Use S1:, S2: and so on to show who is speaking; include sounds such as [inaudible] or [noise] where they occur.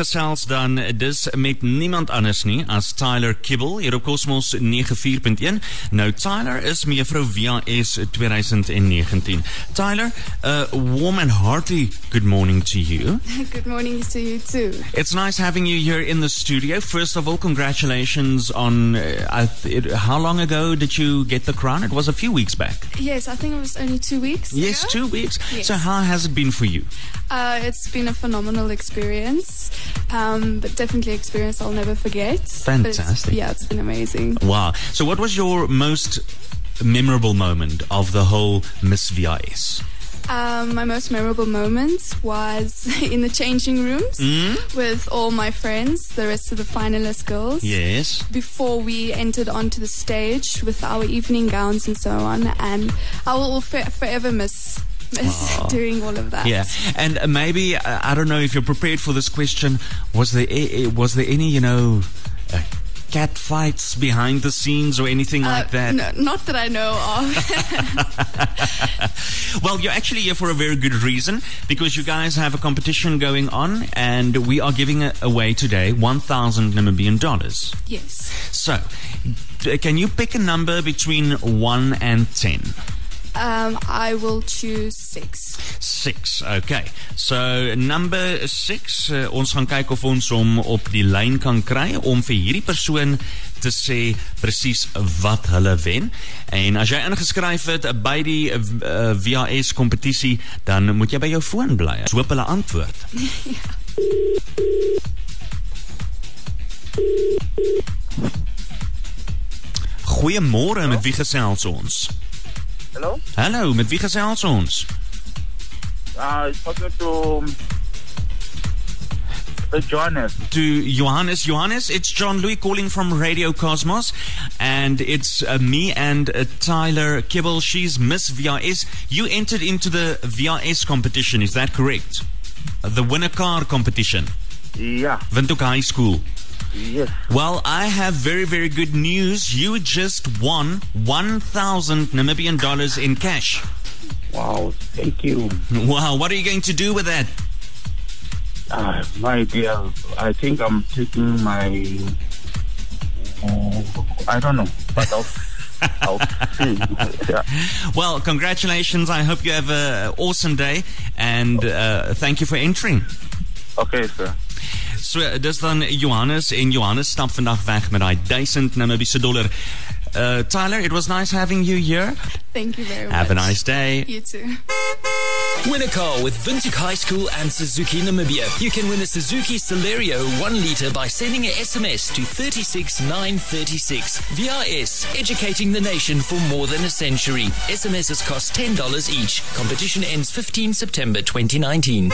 S1: gesels dan dis met niemand anders nie as Tyler Kibble hier op Cosmos 94.1. Nou Tyler is mevrou VS 2019. Tyler, a warm and hearty good morning to you.
S2: Good morning to you too.
S1: It's nice having you here in the studio. First of all, congratulations on uh, I th- it, how long ago did you get the crown? It was a few weeks back.
S2: Yes, I think it was only two weeks.
S1: Yes,
S2: ago.
S1: two weeks.
S2: Yes.
S1: So how has it been for you?
S2: Uh, it's been a phenomenal experience, um, but definitely experience I'll never forget. But it's-
S1: Fantastic.
S2: yeah, it's been amazing.
S1: Wow. So, what was your most memorable moment of the whole Miss VIS?
S2: Um, my most memorable moment was [laughs] in the changing rooms
S1: Mm.
S2: with all my friends, the rest of the finalist girls.
S1: Yes.
S2: Before we entered onto the stage with our evening gowns and so on, and I will for- forever miss miss [laughs] doing all of that.
S1: Yeah, and uh, maybe uh, I don't know if you're prepared for this question. Was there a- a- was there any you know uh, cat fights behind the scenes or anything
S2: Uh,
S1: like that?
S2: no- not that I know of.
S1: Well, you're actually here for a very good reason because you guys have a competition going on, and we are giving a- away today one thousand Namibian dollars.
S2: yes.
S1: So, d- can you pick a number between one and ten?
S2: Um, I will choose six.
S1: Six. Okay. So number six, uh, ons gaan kyk of ons hom op die lyn kan kry om vir hierdie persoon te sê presies wat hulle wen. En as jy ingeskryf het by die uh, VHS kompetisie, dan moet jy by jou foon bly. Ons hoop hulle antwoord. Goeiemôre, met wie gesels ons?
S3: Hello?
S1: Hallo, met wie gesels ons?
S3: Uh, it's talking to, to Johannes.
S1: to Johannes. Johannes, it's John Louis calling from Radio Cosmos, and it's uh, me and uh, Tyler Kibble. She's Miss VRS. You entered into the VRS competition, is that correct? Uh, The winner car competition,
S3: Yeah,
S1: Vintuk High School.
S3: yes.
S1: Well, I have very, very good news. You just won 1,000 Namibian dollars in cash.
S3: Wow, thank you.
S1: Wow, what are you going to do with that?
S3: Uh, my dear, I think I'm taking my. I don't know, but I'll, I'll [laughs] see. Yeah.
S1: Well, congratulations. I hope you have an awesome day, and uh, thank you for entering.
S3: Okay, sir.
S1: So dis dan Johannes en Johannes stap vandag weg met daai 1000 Namibiese dollar. Uh Tyler, it was nice having you here.
S2: Thank you very much.
S1: Have a nice day.
S2: You too.
S4: Win a car with Vintuk High School and Suzuki Namibia. You can win a Suzuki Celerio 1 litre by sending an SMS to 36936. VRS, educating the nation for more than a century. SMSs cost $10 each. Competition ends 15 September 2019.